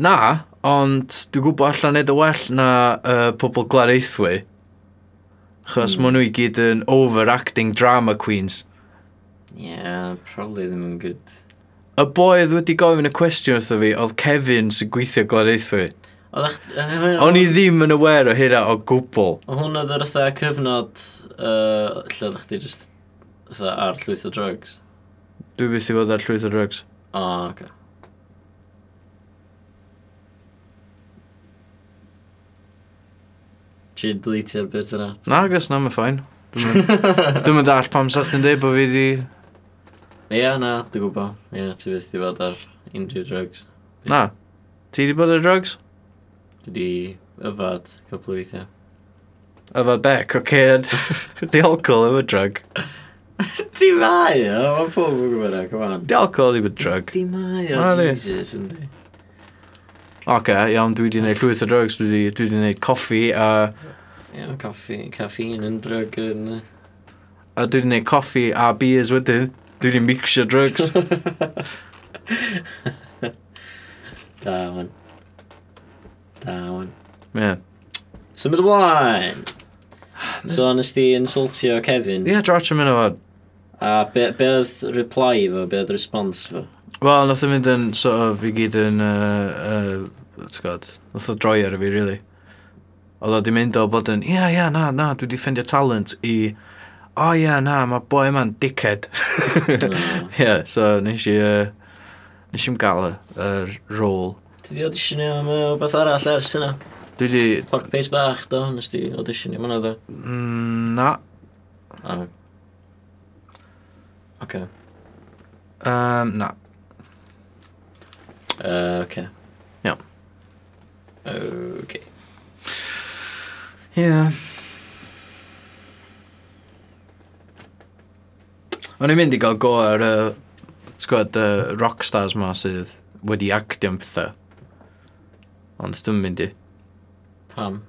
Speaker 1: na, ond dwi'n gwybod allan neud y well na uh, pobl glareithwy. Chos mm. maen nhw i gyd yn overacting drama queens.
Speaker 2: Yeah, probably ddim yn good.
Speaker 1: Y boi oedd wedi gofyn y cwestiwn wrtho fi, oedd Kevin sy'n gweithio glareithwy. O'n
Speaker 2: O'n
Speaker 1: i ddim yn aware o hynna o gwbl.
Speaker 2: Hwn oedd yr ytha cyfnod uh, lle ddech chi just ytha ar llwyth o drugs.
Speaker 1: Dwi byth i fod ar llwyth o drugs.
Speaker 2: O, oh, oce. Ti'n deletio'r bit yna?
Speaker 1: Na, gos na, mae'n ffain. Dwi'n dall pam sa'ch ti'n dweud bod fi di...
Speaker 2: Ie, na, dwi'n gwybod. Ie, ti beth i fod ar unrhyw drugs.
Speaker 1: Na. Ti di bod ar drugs?
Speaker 2: Dwi di yfad cwpl o [laughs] weithiau.
Speaker 1: Efo bec, o [laughs] cyn. Di alcohol efo drug.
Speaker 2: Di mai, o, mae pob yn gwybod na, come on.
Speaker 1: Di alcohol efo drug.
Speaker 2: Di mai,
Speaker 1: Na,
Speaker 2: o,
Speaker 1: di.
Speaker 2: Jesus, yndi.
Speaker 1: Oce, iawn, dwi di wneud llwyth o drugs, dwi di, dwi di wneud coffi, a,
Speaker 2: Ie, mae caffi, caffeine yn drug yn... yy, [laughs]
Speaker 1: a dwi di wneud coffi a beers wedyn. Dwi di mixio drugs.
Speaker 2: Da, wan. Da, wan.
Speaker 1: [laughs] Ie.
Speaker 2: Symud ymlaen! So, nes di insultio Kevin.
Speaker 1: Ie, drach yn mynd o fod.
Speaker 2: A be, be oedd reply fo, be oedd response fo?
Speaker 1: Wel, nath o fynd yn, sort of, i gyd yn, uh, uh, ti'n gwybod, nath o droi ar y fi, really. Oedd o di mynd o bod yn, ia, yeah, ia, yeah, na, na, dwi di ffendio talent i, o, oh, ia, yeah, na, mae boi yma'n dickhead. Ie, yeah, so nes i, uh, nes i'n gael y, yr rôl.
Speaker 2: Ti di auditionio am yy, rhywbeth arall ers yna?
Speaker 1: Dwi di,
Speaker 2: Pork pace bach, do, nes di auditionio am hwnna, do?
Speaker 1: mm, na,
Speaker 2: O. Oce.
Speaker 1: um, na.
Speaker 2: Yy, Oce.
Speaker 1: Iawn.
Speaker 2: Oce.
Speaker 1: Ie. Yeah. O'n i'n mynd i gael go ar y, ti'n gwybod, y rockstars ma sydd wedi actio'n pethau. Ond dwi'n mynd i.
Speaker 2: Pam?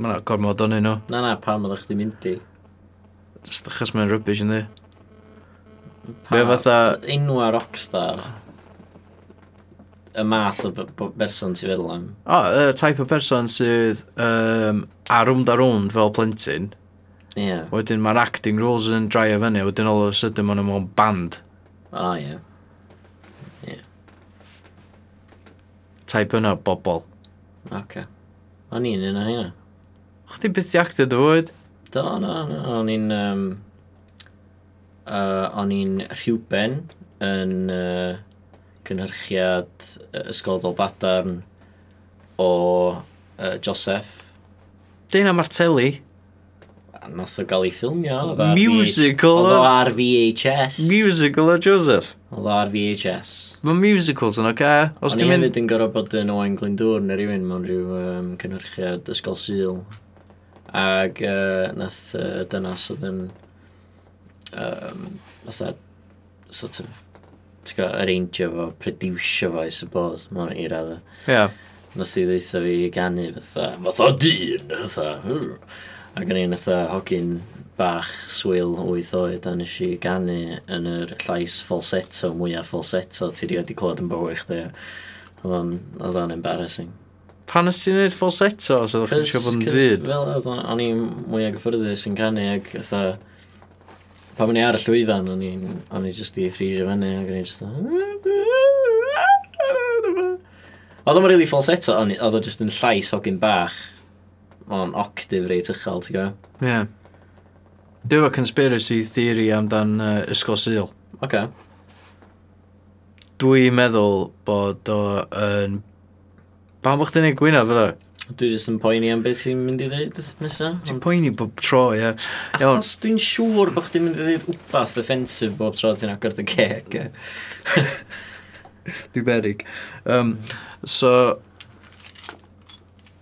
Speaker 1: Mae'n gormod o'n un o.
Speaker 2: Na, na, pam oedd chdi mynd i?
Speaker 1: Just achos mae'n rybys yn di.
Speaker 2: Pa-
Speaker 1: Mae fatha,
Speaker 2: Enwa rockstar. Y math o b- b- berson ti'n feddwl am.
Speaker 1: o, y type o person sydd um, ar rwnd ar rwnd fel plentyn.
Speaker 2: Ie.
Speaker 1: Wedyn mae'r acting roles yn drai o fyny, wedyn all of a sudden maen nhw mewn band.
Speaker 2: O, ie.
Speaker 1: Type yna o bobl.
Speaker 2: Oce. O'n i'n yna hynna.
Speaker 1: Chdi byth i actio dy fwyd?
Speaker 2: Do, no, no. O'n i'n... Um, uh, o'n i'n rhywben yn uh, cynhyrchiad yy, Ysgol Dolbadarn o uh, Joseph.
Speaker 1: Dyna mae'r teli.
Speaker 2: Nath o gael ei ffilmio. oedd ar V-
Speaker 1: Musical,
Speaker 2: Oedd o
Speaker 1: oedd?
Speaker 2: ar VHS.
Speaker 1: Musical o Joseph.
Speaker 2: Oedd o ar VHS.
Speaker 1: Mae musicals yn oce. Os
Speaker 2: Os
Speaker 1: ti'n
Speaker 2: ti'n
Speaker 1: mynd...
Speaker 2: hefyd yn gorfod bod yn oen Glyndŵr neu rhywun mewn rhyw um, cynhyrchiad ysgol syl. Ac uh, nath uh, dynas oedd yn... Um, nath a... Sort of... Ti'n gwybod, arrangio fo, producio fo, I suppose, mae'n i raddau.
Speaker 1: Ie.
Speaker 2: Nath i ddeitha fi i ganu fatha, fatha dyn, fatha. "Ur." Ac o'n i'n fatha hogyn bach swyl 8 oed a nes i ganu yn yr llais falsetto mwyaf falsetto ti rioed wedi clywed yn bywyd chdi. Oedd o'n- Oedd o'n embarrassing.
Speaker 1: Pan ys ti'n neud falsetto os oeddech chi'n siarad bod yn ddyn?
Speaker 2: Fel oedd o'n- o'n i'n mwyaf gyffyrddus yn canu ac fatha... Pan o'n i ar y llwyfan, o'n i'n- o'n i jyst i ffrisio fyny ac o'n i'n jyst... fatha- Oedd o'n really falsetto, o'n i- oedd o'n jyst yn llais hogyn bach. O'n octif reit uchel, ti'n gwybod?
Speaker 1: Ie. Dwi'n fawr conspiracy theory amdan uh, ysgol syl.
Speaker 2: Oce.
Speaker 1: Dwi'n meddwl bod o yn... Pan bych chi'n ei gwyna fel o?
Speaker 2: Dwi jyst yn poeni am beth ti'n mynd i ddeud nesaf.
Speaker 1: Ti'n poeni bob tro, ie. Iawn,
Speaker 2: Achos dwi'n siŵr bod chdi'n mynd i ddeud wbath offensif bob tro ti'n agor dy e. ceg. ie. [laughs]
Speaker 1: Dwi'n berig. Um, so,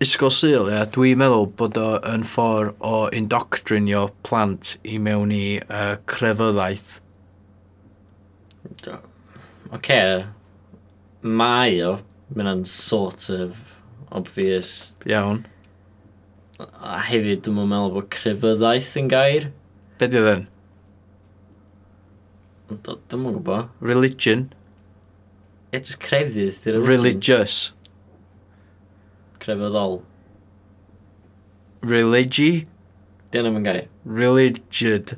Speaker 1: Ysgol Sil, ie, dwi'n meddwl bod o yn ffordd o indoctrinio plant i mewn i uh, crefyddaeth.
Speaker 2: Oce. Mae o. Mae'n sort of obvious.
Speaker 1: Iawn.
Speaker 2: A hefyd dwi'n meddwl bod crefyddaeth yn gair.
Speaker 1: Be di ddyn?
Speaker 2: Ond d- Dwi'm yn gwybod.
Speaker 1: Religion.
Speaker 2: Ie, jyst crefydd. di'r religion.
Speaker 1: Religious.
Speaker 2: Crefyddol.
Speaker 1: Religi.
Speaker 2: Di hwnna yn gair.
Speaker 1: Religid.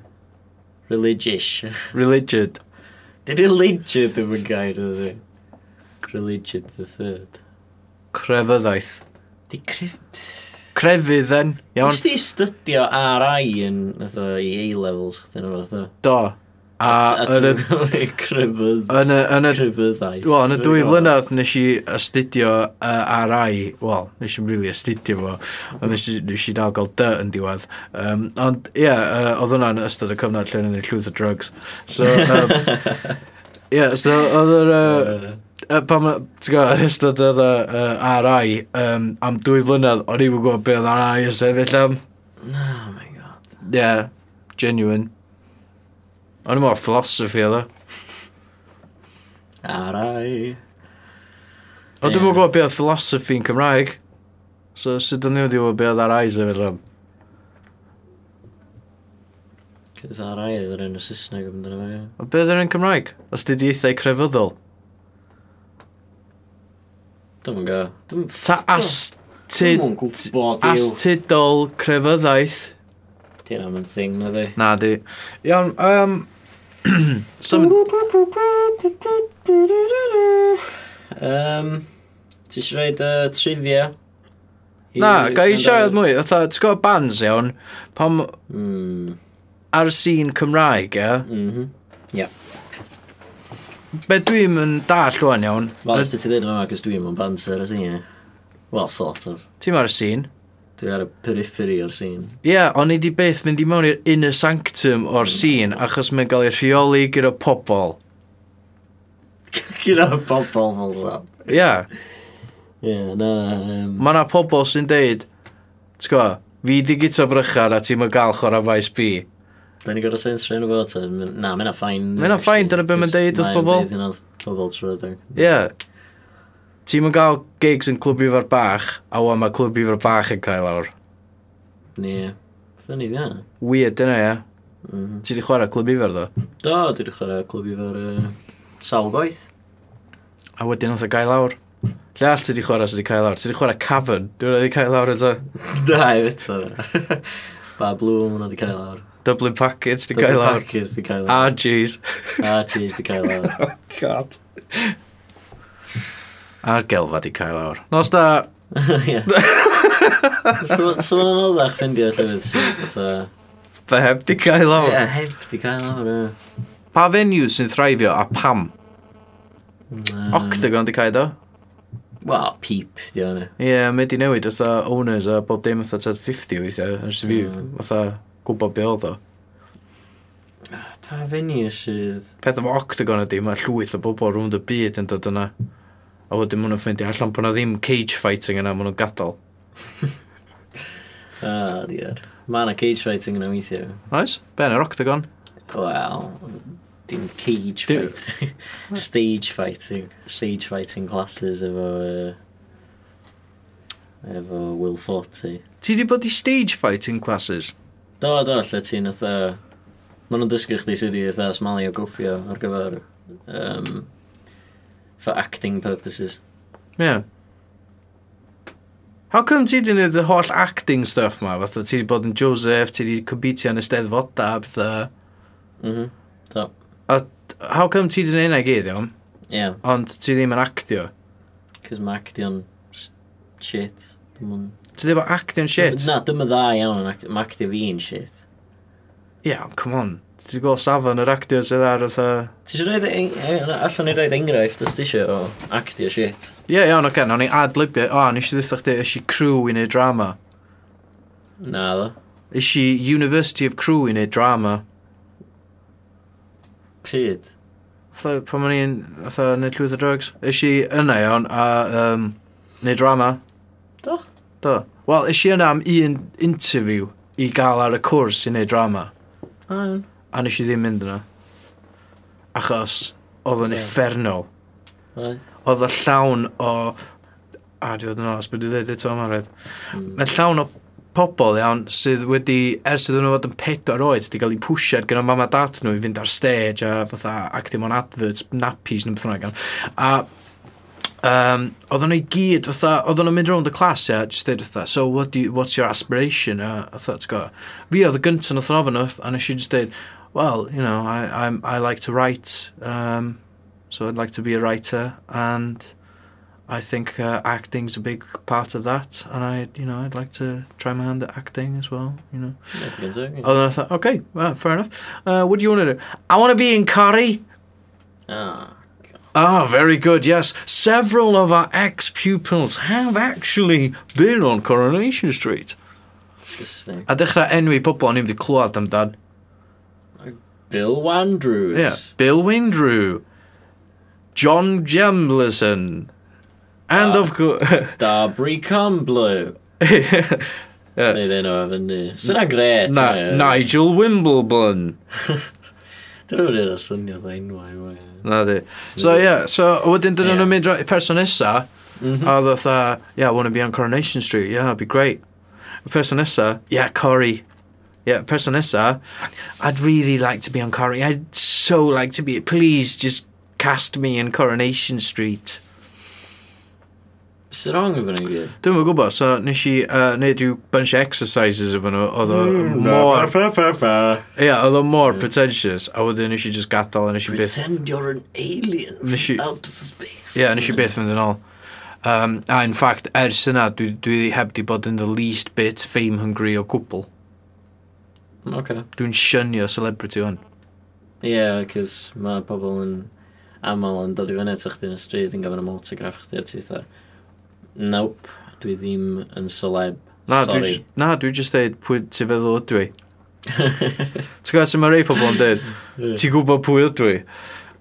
Speaker 2: Religious. [laughs]
Speaker 1: Religid.
Speaker 2: Di religion ddim yn gair ydy. Religion the third.
Speaker 1: Crefyddaeth.
Speaker 2: Di cref...
Speaker 1: Crefydd then. Iawn.
Speaker 2: Nes di studio RI yn fatha i A-levels chdi nhw fatha.
Speaker 1: Do. A yn y...
Speaker 2: crefydd.
Speaker 1: Yn y... Yn y...
Speaker 2: Crefyddau.
Speaker 1: Wel, yn y dwy flynedd nes i astudio uh, RI, wel, nes i'n really astudio fo, ond nes, i- nes i dal gael dy yn diwedd. Um, ond ie, yeah, uh, oedd hwnna'n ystod y cyfnod lle o'n i'n llwyth o drugs. [laughs]
Speaker 2: [laughs]
Speaker 1: So, um, ie, so oedd yr... Uh, uh, pan ma, ti'n gwybod, yn ystod oedd y uh, RI, um, am dwy flynedd, o'n i'n gwybod beth oedd RI yn sefyll am.
Speaker 2: Oh my god.
Speaker 1: Ie, yeah, genuine. O'n i'n mor philosophy oedd o.
Speaker 2: RI.
Speaker 1: Ond dwi'n
Speaker 2: Ie.
Speaker 1: mwyn gwybod beth philosophy yn Cymraeg. So sut o'n i wedi gwybod beth ar eyes efo'r rhan?
Speaker 2: Cys RI oedd yr un o Saesneg yn dyna fe.
Speaker 1: O beth ar yn Cymraeg? Os di di eithau crefyddol?
Speaker 2: Dwi'n yn go. Dwi'n
Speaker 1: Ta astid...
Speaker 2: yn
Speaker 1: Hmm.
Speaker 2: gwybod i'w.
Speaker 1: Astidol crefyddaeth?
Speaker 2: Ti'n am yn thing na di.
Speaker 1: Na di. Iawn, [clears throat] um... Some...
Speaker 2: Um, ti eisiau rhaid uh, trivia?
Speaker 1: Na, ga i siarad mwy. Ota, ti'n gwybod bands iawn? Pam
Speaker 2: Mm,
Speaker 1: ar y sîn Cymraeg, ie?
Speaker 2: mhm.
Speaker 1: Be dwi'n mynd dall o'n iawn?
Speaker 2: Wel, ys beth i ddweud yma, cos dwi'n mwyn banser ar y sîn, ie. Well, sort of.
Speaker 1: Ti'n ar y sîn?
Speaker 2: Dwi ar y periphery o'r sîn. [laughs]
Speaker 1: Ie, yeah, o'n i di beth mynd i mewn i'r inner sanctum o'r sîn achos mae'n cael ei rheoli gyda pobl.
Speaker 2: Gyda pobol fel sam.
Speaker 1: Ie, yeah,
Speaker 2: Ie, na, um,
Speaker 1: mae yna pobl sy'n deud, ti'n gwybod, fi di gyda brychar a ti'n gael chwarae faes bi.
Speaker 2: da ni gorau sens rhaid o ta. Na, mae'n a ffain.
Speaker 1: Mae hynna'n fine, dyna be mae'n deud wrth pobol.
Speaker 2: Mae'n deud yn oedd pobol trwy ddeg.
Speaker 1: Ie. Yeah. Ti'n gael gigs yn clwb ifa'r bach a wa mae clwb ifa'r bach yn cael awr.
Speaker 2: Ie. Fyny, dda.
Speaker 1: Weird dyna, ie. Yeah.
Speaker 2: Mhm.
Speaker 1: Ti di chwarae clwb ifa'r ddo?
Speaker 2: Do, dwi wedi chwarae clwb i fo'r uh, sawl gwaith.
Speaker 1: A wedyn oedd y gael awr. Lle all ti di chwarae sydd wedi cael awr? Ti di chwarae cafon? Dwi'n wedi cael awr eto.
Speaker 2: [laughs] Da, i fito.
Speaker 1: [laughs]
Speaker 2: Ba blwm, hwnna di cael awr.
Speaker 1: Dublin Packets Ah, di cael awr.
Speaker 2: Packers, di cael awr.
Speaker 1: [laughs] RGs.
Speaker 2: Archie's di cael
Speaker 1: [laughs]
Speaker 2: awr.
Speaker 1: Oh, God. A'r gelfa di cael awr. Nos da.
Speaker 2: Ie. So so ma'n anoddach ffindio llefydd sy'n fatha...
Speaker 1: Fe heb di cael
Speaker 2: Ie,
Speaker 1: awr.
Speaker 2: heb di cael awr. ie.
Speaker 1: Pa fenyw sy'n thraifio a pam? Mm.
Speaker 2: Yym,
Speaker 1: Octagon di cael do?
Speaker 2: Wel, peep, di o'n i.
Speaker 1: Ie, yeah, mae di newid oedd owners a bob dim oedd 50 weithiau. Ers i fi,
Speaker 2: Mm.
Speaker 1: oedd gwybod be oedd o.
Speaker 2: Pa fenni sydd?
Speaker 1: Peth efo octagon ydi, mae llwyth o bobl rhwng y byd yn dod yna. A wedyn maen nhw'n ffeindio allan bod na ddim cage fighting yna, maen nhw'n gadael.
Speaker 2: Ah, diar. Mae yna cage fighting yn weithio.
Speaker 1: Oes? Be yn yr octagon?
Speaker 2: Wel, dim cage
Speaker 1: Dim-
Speaker 2: fighting. [laughs] Stage fighting. Stage fighting classes efo... Uh, efo Will Forte.
Speaker 1: Ti di bod i stage fighting classes?
Speaker 2: Do, do, lle ti'n ytho... Maen nhw'n dysgu chdi sydd i ytho smalu o gwffio ar gyfer... Um, for acting purposes.
Speaker 1: Ie. Yeah. How come ti di wneud y holl acting stuff ma? Fatha ti di bod yn Joseph, ti di cybitio yn y steddfoda, a bethau.
Speaker 2: Mhm. Do.
Speaker 1: How come ti di wneud yna i gyd, iawn?
Speaker 2: Yeah,
Speaker 1: Ond ti ddim yn actio.
Speaker 2: cos mae actio'n s- shit. Dim ond-
Speaker 1: Ti ddim yn actio'n shit?
Speaker 2: Na, dim yn dda iawn yn act- mae actio fi'n shit.
Speaker 1: Ie, yeah, come on. Ti di gweld safon yr actio sydd ar fatha...
Speaker 2: Ti e eisiau roed... Allan ni roed enghraifft os ti eisiau o actio shit.
Speaker 1: Ie, yeah, iawn, oce, okay, o'n i adlybio. O, nes i ddweud chdi, eisiau crew i wneud drama.
Speaker 2: Na ddo.
Speaker 1: Eisiau University of Crew i wneud drama.
Speaker 2: Pryd?
Speaker 1: Fatha, pan o'n i'n, fatha, wneud llwyth o drugs. Eisiau yna iawn, a um, wneud drama.
Speaker 2: Do.
Speaker 1: Do. Wel, eisiau yna am un interview i gael ar y cwrs i wneud drama.
Speaker 2: A'n.
Speaker 1: A nes i ddim mynd yna. Achos, oedd o'n
Speaker 2: Ie.
Speaker 1: effernol. oedd y llawn o... A, di oedd yn os, beth i ddweud eto yma, rhaid.
Speaker 2: Hmm,
Speaker 1: Mae'n llawn o pobl iawn sydd wedi, ers iddyn nhw fod yn pedwar oed, wedi cael eu pwsiad gyda mam a dat nhw i fynd ar stage a fatha actio mewn adverts, nappies neu beth bynnag. iawn. A um, oedden nhw i gyd, fatha, oedden nhw'n mynd rownd y clas, ia, jyst dweud fatha, so what do you, what's your aspiration? A, fatha, ti'n gwybod. Fi oedd y gyntaf nath o'n ofyn wrth, a nes i just dweud, well, you know, I, I'm, I like to write, um, so I'd like to be a writer, and I think uh, acting's a big part of that, and I, you know, I'd like to try my hand at acting as well, you know. Oh, then I thought, okay, well, fair enough. Uh, what do you want to do? I want to be in curry.
Speaker 2: Ah.
Speaker 1: Ah, very good, yes. Several of our ex-pupils have actually been on Coronation Street.
Speaker 2: Disgusting.
Speaker 1: A dechrau enwi pobl o'n i'n mynd i clywed amdan.
Speaker 2: Bill Wandrews.
Speaker 1: Yeah. Bill Windrew. John Jamblison. And
Speaker 2: Ah.
Speaker 1: of course... [laughs]
Speaker 2: Darby Comblew. Neu ddyn nhw efo ni. Sy'n na gret.
Speaker 1: Na, Nigel Wimbledon.
Speaker 2: Dyn nhw'n rhaid o syniad o enwau. ma.
Speaker 1: Na di. So, ie, yeah, so wedyn dyn nhw'n
Speaker 2: Ie.
Speaker 1: mynd i person nesa,
Speaker 2: Mhm.
Speaker 1: a oedd oedd, yeah, I want to be on Coronation Street, yeah, that'd be great. Y person nesa, yeah, Corey. Yeah, person nesa, I'd really like to be on Corey, I'd so like to be, please just cast me in Coronation Street.
Speaker 2: Sy'n wrong efo ni gyd.
Speaker 1: Dwi'n mwyn gwybod, so nes i uh, neud rhyw bunch o exercises efo nhw, oedd o
Speaker 2: Mm.
Speaker 1: mor,
Speaker 2: Fa, fa, fa.
Speaker 1: ie, oedd o mor pretentious, a wedyn nes i just gadael, a nes i byth
Speaker 2: Pretend you're an alien from
Speaker 1: Nes i-
Speaker 2: outer space.
Speaker 1: Ie, yeah, nes i byth fynd yn ôl. Um, a in fact, ers yna, dwi, dwi heb di bod yn the least bit fame hungry o gwbl.
Speaker 2: Okay.
Speaker 1: Dwi'n siynio celebrity o'n.
Speaker 2: Ie, yeah, cys mae pobl yn aml yn dod i fyny at chdi yn y stryd yn gofyn am autograff chdi a ti eitha. Nope, dwi ddim yn celeb.
Speaker 1: Na, dwi,
Speaker 2: Sorry.
Speaker 1: j- na, dwi just dweud pwy ti feddwl ydw i.
Speaker 2: [laughs]
Speaker 1: Ti'n gwybod sy'n mae rei pobl yn dweud, ti'n gwybod pwy ydw i?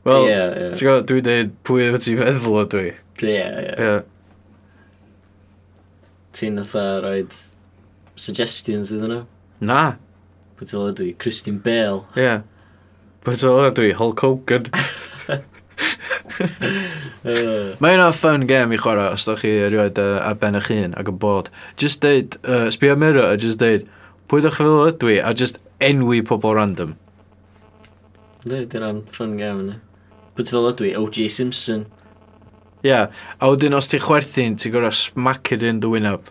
Speaker 1: Wel,
Speaker 2: Ie,
Speaker 1: yeah,
Speaker 2: ie.
Speaker 1: yeah. ti'n gwybod, dwi'n dweud pwy ydw ti feddwl ydw i.
Speaker 2: Ie, ie.
Speaker 1: Yeah.
Speaker 2: Ti'n eitha roed suggestions iddyn nhw.
Speaker 1: Na,
Speaker 2: Pwy ti'n ydw i? Christine
Speaker 1: [laughs]
Speaker 2: Bale.
Speaker 1: ie. Yeah. But o ydw i, Hulk Hogan.
Speaker 2: Uh,
Speaker 1: Mae yna fun game i chwarae os da chi erioed uh, ar ben eich hun ac yn bod. Just deud, uh, sbio mirror a just deud, pwy ydych chi fel ydw i a just enwi pobl random.
Speaker 2: Dwi, dyna'n fun game yna. Pwy ti'n ydw i? O.J. Simpson.
Speaker 1: Ia, yeah. a wedyn os ti'n chwerthin, ti'n gorau smack it in the win-up.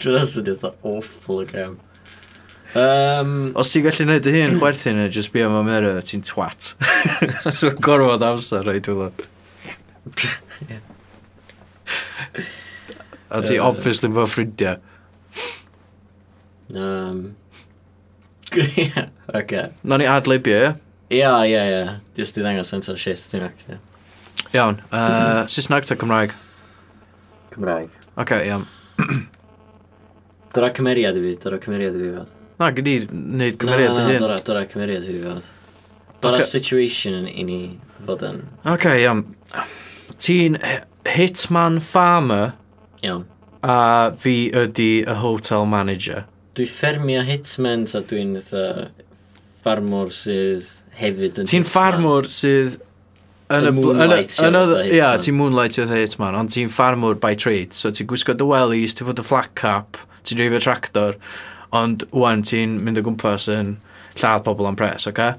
Speaker 2: Dwi'n asyn eitha awful y game. Um,
Speaker 1: Os ti'n gallu gwneud y hyn, chwerthin a just sbio mewn mirror, ti'n twat. [laughs] Rwy'n gorfod amser rhaid dwi'n A ti
Speaker 2: Yy.
Speaker 1: obviously bod ffrindiau.
Speaker 2: um, [laughs] Ie, oce.
Speaker 1: Na ni adlibio, ie?
Speaker 2: Ie, ie, ie. Just i ddangos yn ta shit dwi'n actio.
Speaker 1: Iawn. Uh, Saesneg ta Cymraeg?
Speaker 2: Cymraeg.
Speaker 1: Oce, okay, iawn.
Speaker 2: Dyra cymeriad i fi, dyra cymeriad i fi fod.
Speaker 1: Na, gyd i wneud
Speaker 2: Na, na,
Speaker 1: cymeriad
Speaker 2: na,
Speaker 1: y hyn.
Speaker 2: dyna, dyna cymeriad i fi fod. Dyna
Speaker 1: Ocê.
Speaker 2: situation i ni fod yn
Speaker 1: Ok, iawn. Ti'n h- hitman farmer
Speaker 2: iawn.
Speaker 1: a fi ydi y hotel manager.
Speaker 2: Dwi ffermio hitmen a dwi'n eitha ffarmwr sydd hefyd yn
Speaker 1: Ti'n
Speaker 2: hitman.
Speaker 1: ffarmwr sydd... Yn y... bl- yn
Speaker 2: Yn
Speaker 1: y-
Speaker 2: moonlightio
Speaker 1: yn y-
Speaker 2: fatha
Speaker 1: Ia,
Speaker 2: hitman.
Speaker 1: ti'n moonlightio fatha hitman, ond ti'n ffarmwr by trade. So ti'n gwisgo dy wellies, ti'n fod y flat cap, ti'n dreifio tractor, ond wwan ti'n mynd o gwmpas yn lladd pobl am pres, oce?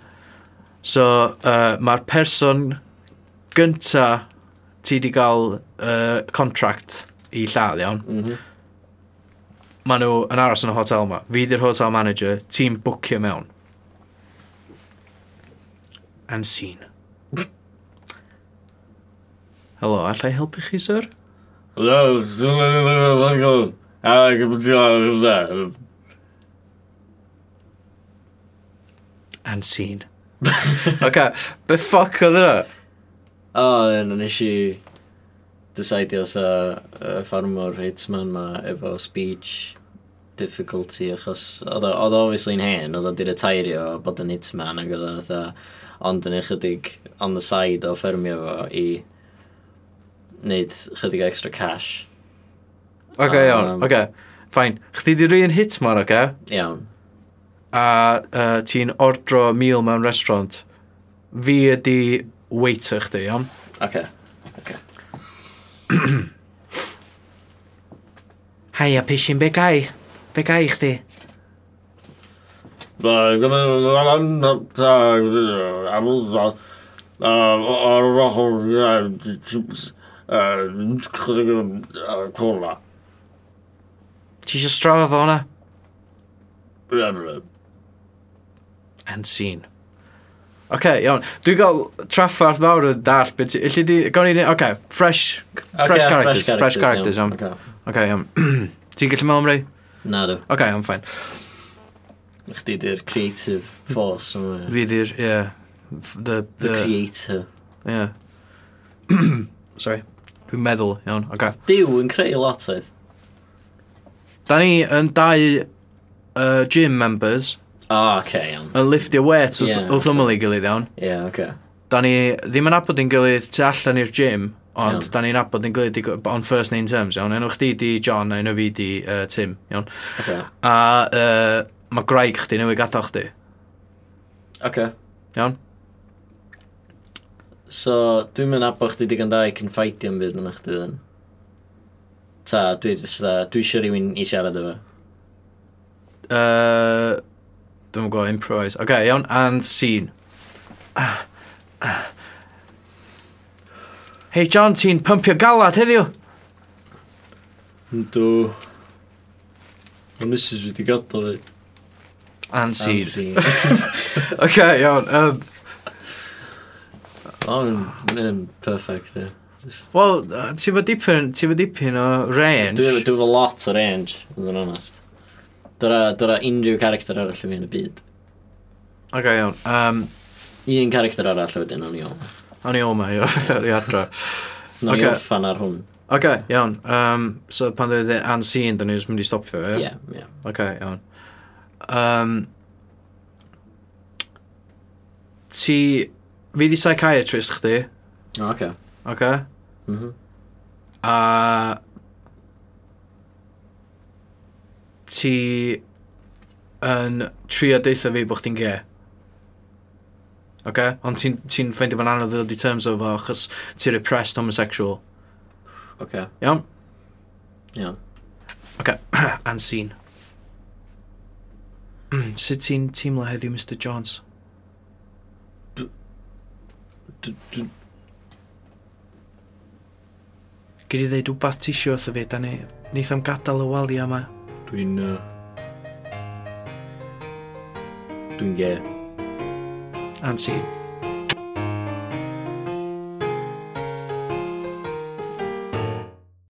Speaker 1: So, uh, mae'r person gynta ti di gael uh, contract i lladd, iawn,
Speaker 2: Mhm.
Speaker 1: maen nhw yn aros yn y hotel yma. Fi di'r hotel manager, ti'n bwcio mewn. And scene. Helo, allai helpu chi, sir?
Speaker 2: Hello, what's going on?
Speaker 1: And scene.
Speaker 2: [laughs]
Speaker 1: OK, be ffoc oedd yna?
Speaker 2: O, yna nes i decidio sa y ffarmwr hitman ma efo speech difficulty achos oedd o oedd o obviously yn hen, oedd o'n diretirio o bod yn hitman ac oedd o'n fatha ond yn ychydig on the side o ffermio fo i wneud chydig o extra cash.
Speaker 1: OK, iawn,
Speaker 2: Um,
Speaker 1: OK. Fain, chdi di'r un hitman, OK?
Speaker 2: Iawn.
Speaker 1: A uh, ti'n ordro meal mewn restaurant. Fi ydi waiter chdi, iawn?
Speaker 2: Okay.
Speaker 1: Haia, pishin, be gai? Be gai chdi?
Speaker 3: Cola.
Speaker 1: Ti eisiau strafa fo hwnna? and seen. OK, iawn. Dwi'n gael traffarth fawr yn dall. Beth ti... Illi di... Gawn ni... OK, fresh... Fresh characters. Fresh characters, iawn.
Speaker 2: Okay.
Speaker 1: OK, iawn. [clears throat] Ti'n gallu mewn rei?
Speaker 2: Na do.
Speaker 1: OK, iawn, ffain.
Speaker 2: Chdi di'r creative force yma.
Speaker 1: Fi di'r... Yeah. The...
Speaker 2: The
Speaker 1: The...
Speaker 2: creator.
Speaker 1: Yeah. [clears throat] Sorry. Dwi'n meddwl, iawn. OK.
Speaker 2: Dyw yn creu lot oedd.
Speaker 1: Da ni yn dau uh, gym members
Speaker 2: O, oh, oce, iawn.
Speaker 1: yn liftio weights wrth
Speaker 2: Ie,
Speaker 1: wrth ymyl i gilydd, iawn.
Speaker 2: Ie, oce.
Speaker 1: Da ni ddim yn abod yn gilydd tu allan i'r gym, ond
Speaker 2: Iawn.
Speaker 1: da ni'n abod yn gilydd i- on first name terms, iawn. Enw chdi di John, a enw fi di uh, Tim, iawn.
Speaker 2: Oce.
Speaker 1: A uh, mae graig chdi newid gadael chdi,
Speaker 2: Oce.
Speaker 1: iawn.
Speaker 2: So, dwi'n mynd abo chdi digon da i confaidio am byd yna chdi ddyn. Ta, dwi jyst dda, dwi eisiau rhywun i siarad efo.
Speaker 1: Uh, Dwi'n gwybod, improvise. Oce, okay, iawn, and scene. Hei John, ti'n pympio galad heddiw?
Speaker 2: Yndw. Mae Mrs wedi gadael fi.
Speaker 1: And scene. Oce,
Speaker 2: Ansi.
Speaker 1: okay, iawn. Um,
Speaker 2: [laughs] O, mae'n yn perfect, ie.
Speaker 1: Wel, uh, ti'n fod dipyn, ti dipyn o range.
Speaker 2: Dwi'n dwi efo lot o range, yn yn onest. Dyna dyna unrhyw character arall i fi yn y byd.
Speaker 1: Oce, okay, iawn. Um,
Speaker 2: Un character arall a wedyn, o'n i o'n.
Speaker 1: O'n i oma, [laughs] i adra.
Speaker 2: O'n i
Speaker 1: Ocê.
Speaker 2: offan ar hwn.
Speaker 1: Ok, iawn. Um, so pan dwi wedi unseen, dyn ni'n mynd i stopio, ie?
Speaker 2: Ie, ie.
Speaker 1: Ok, iawn. Um, ti... Fi di psychiatrist chdi,
Speaker 2: O, Oce.
Speaker 1: ok?
Speaker 2: Mhm.
Speaker 1: A... Ti yn trio deitha fi bod chdi'n ge. Ok? Ond ti'n ti ffeindio fan anodd i ddod i terms o fo, achos ti'n repressed homosexual.
Speaker 2: Oce.
Speaker 1: Iawn?
Speaker 2: Iawn.
Speaker 1: OK, [clears throat] and scene. Mm, Sut ti'n teimlo heddiw, Mr Jones?
Speaker 2: D- d-
Speaker 1: Gyd i ddeud wbath ti isio wrtho fi, da ni wnaeth am gadael y wali yma.
Speaker 2: Dwi'n... Uh, dwi'n ge.
Speaker 1: And scene.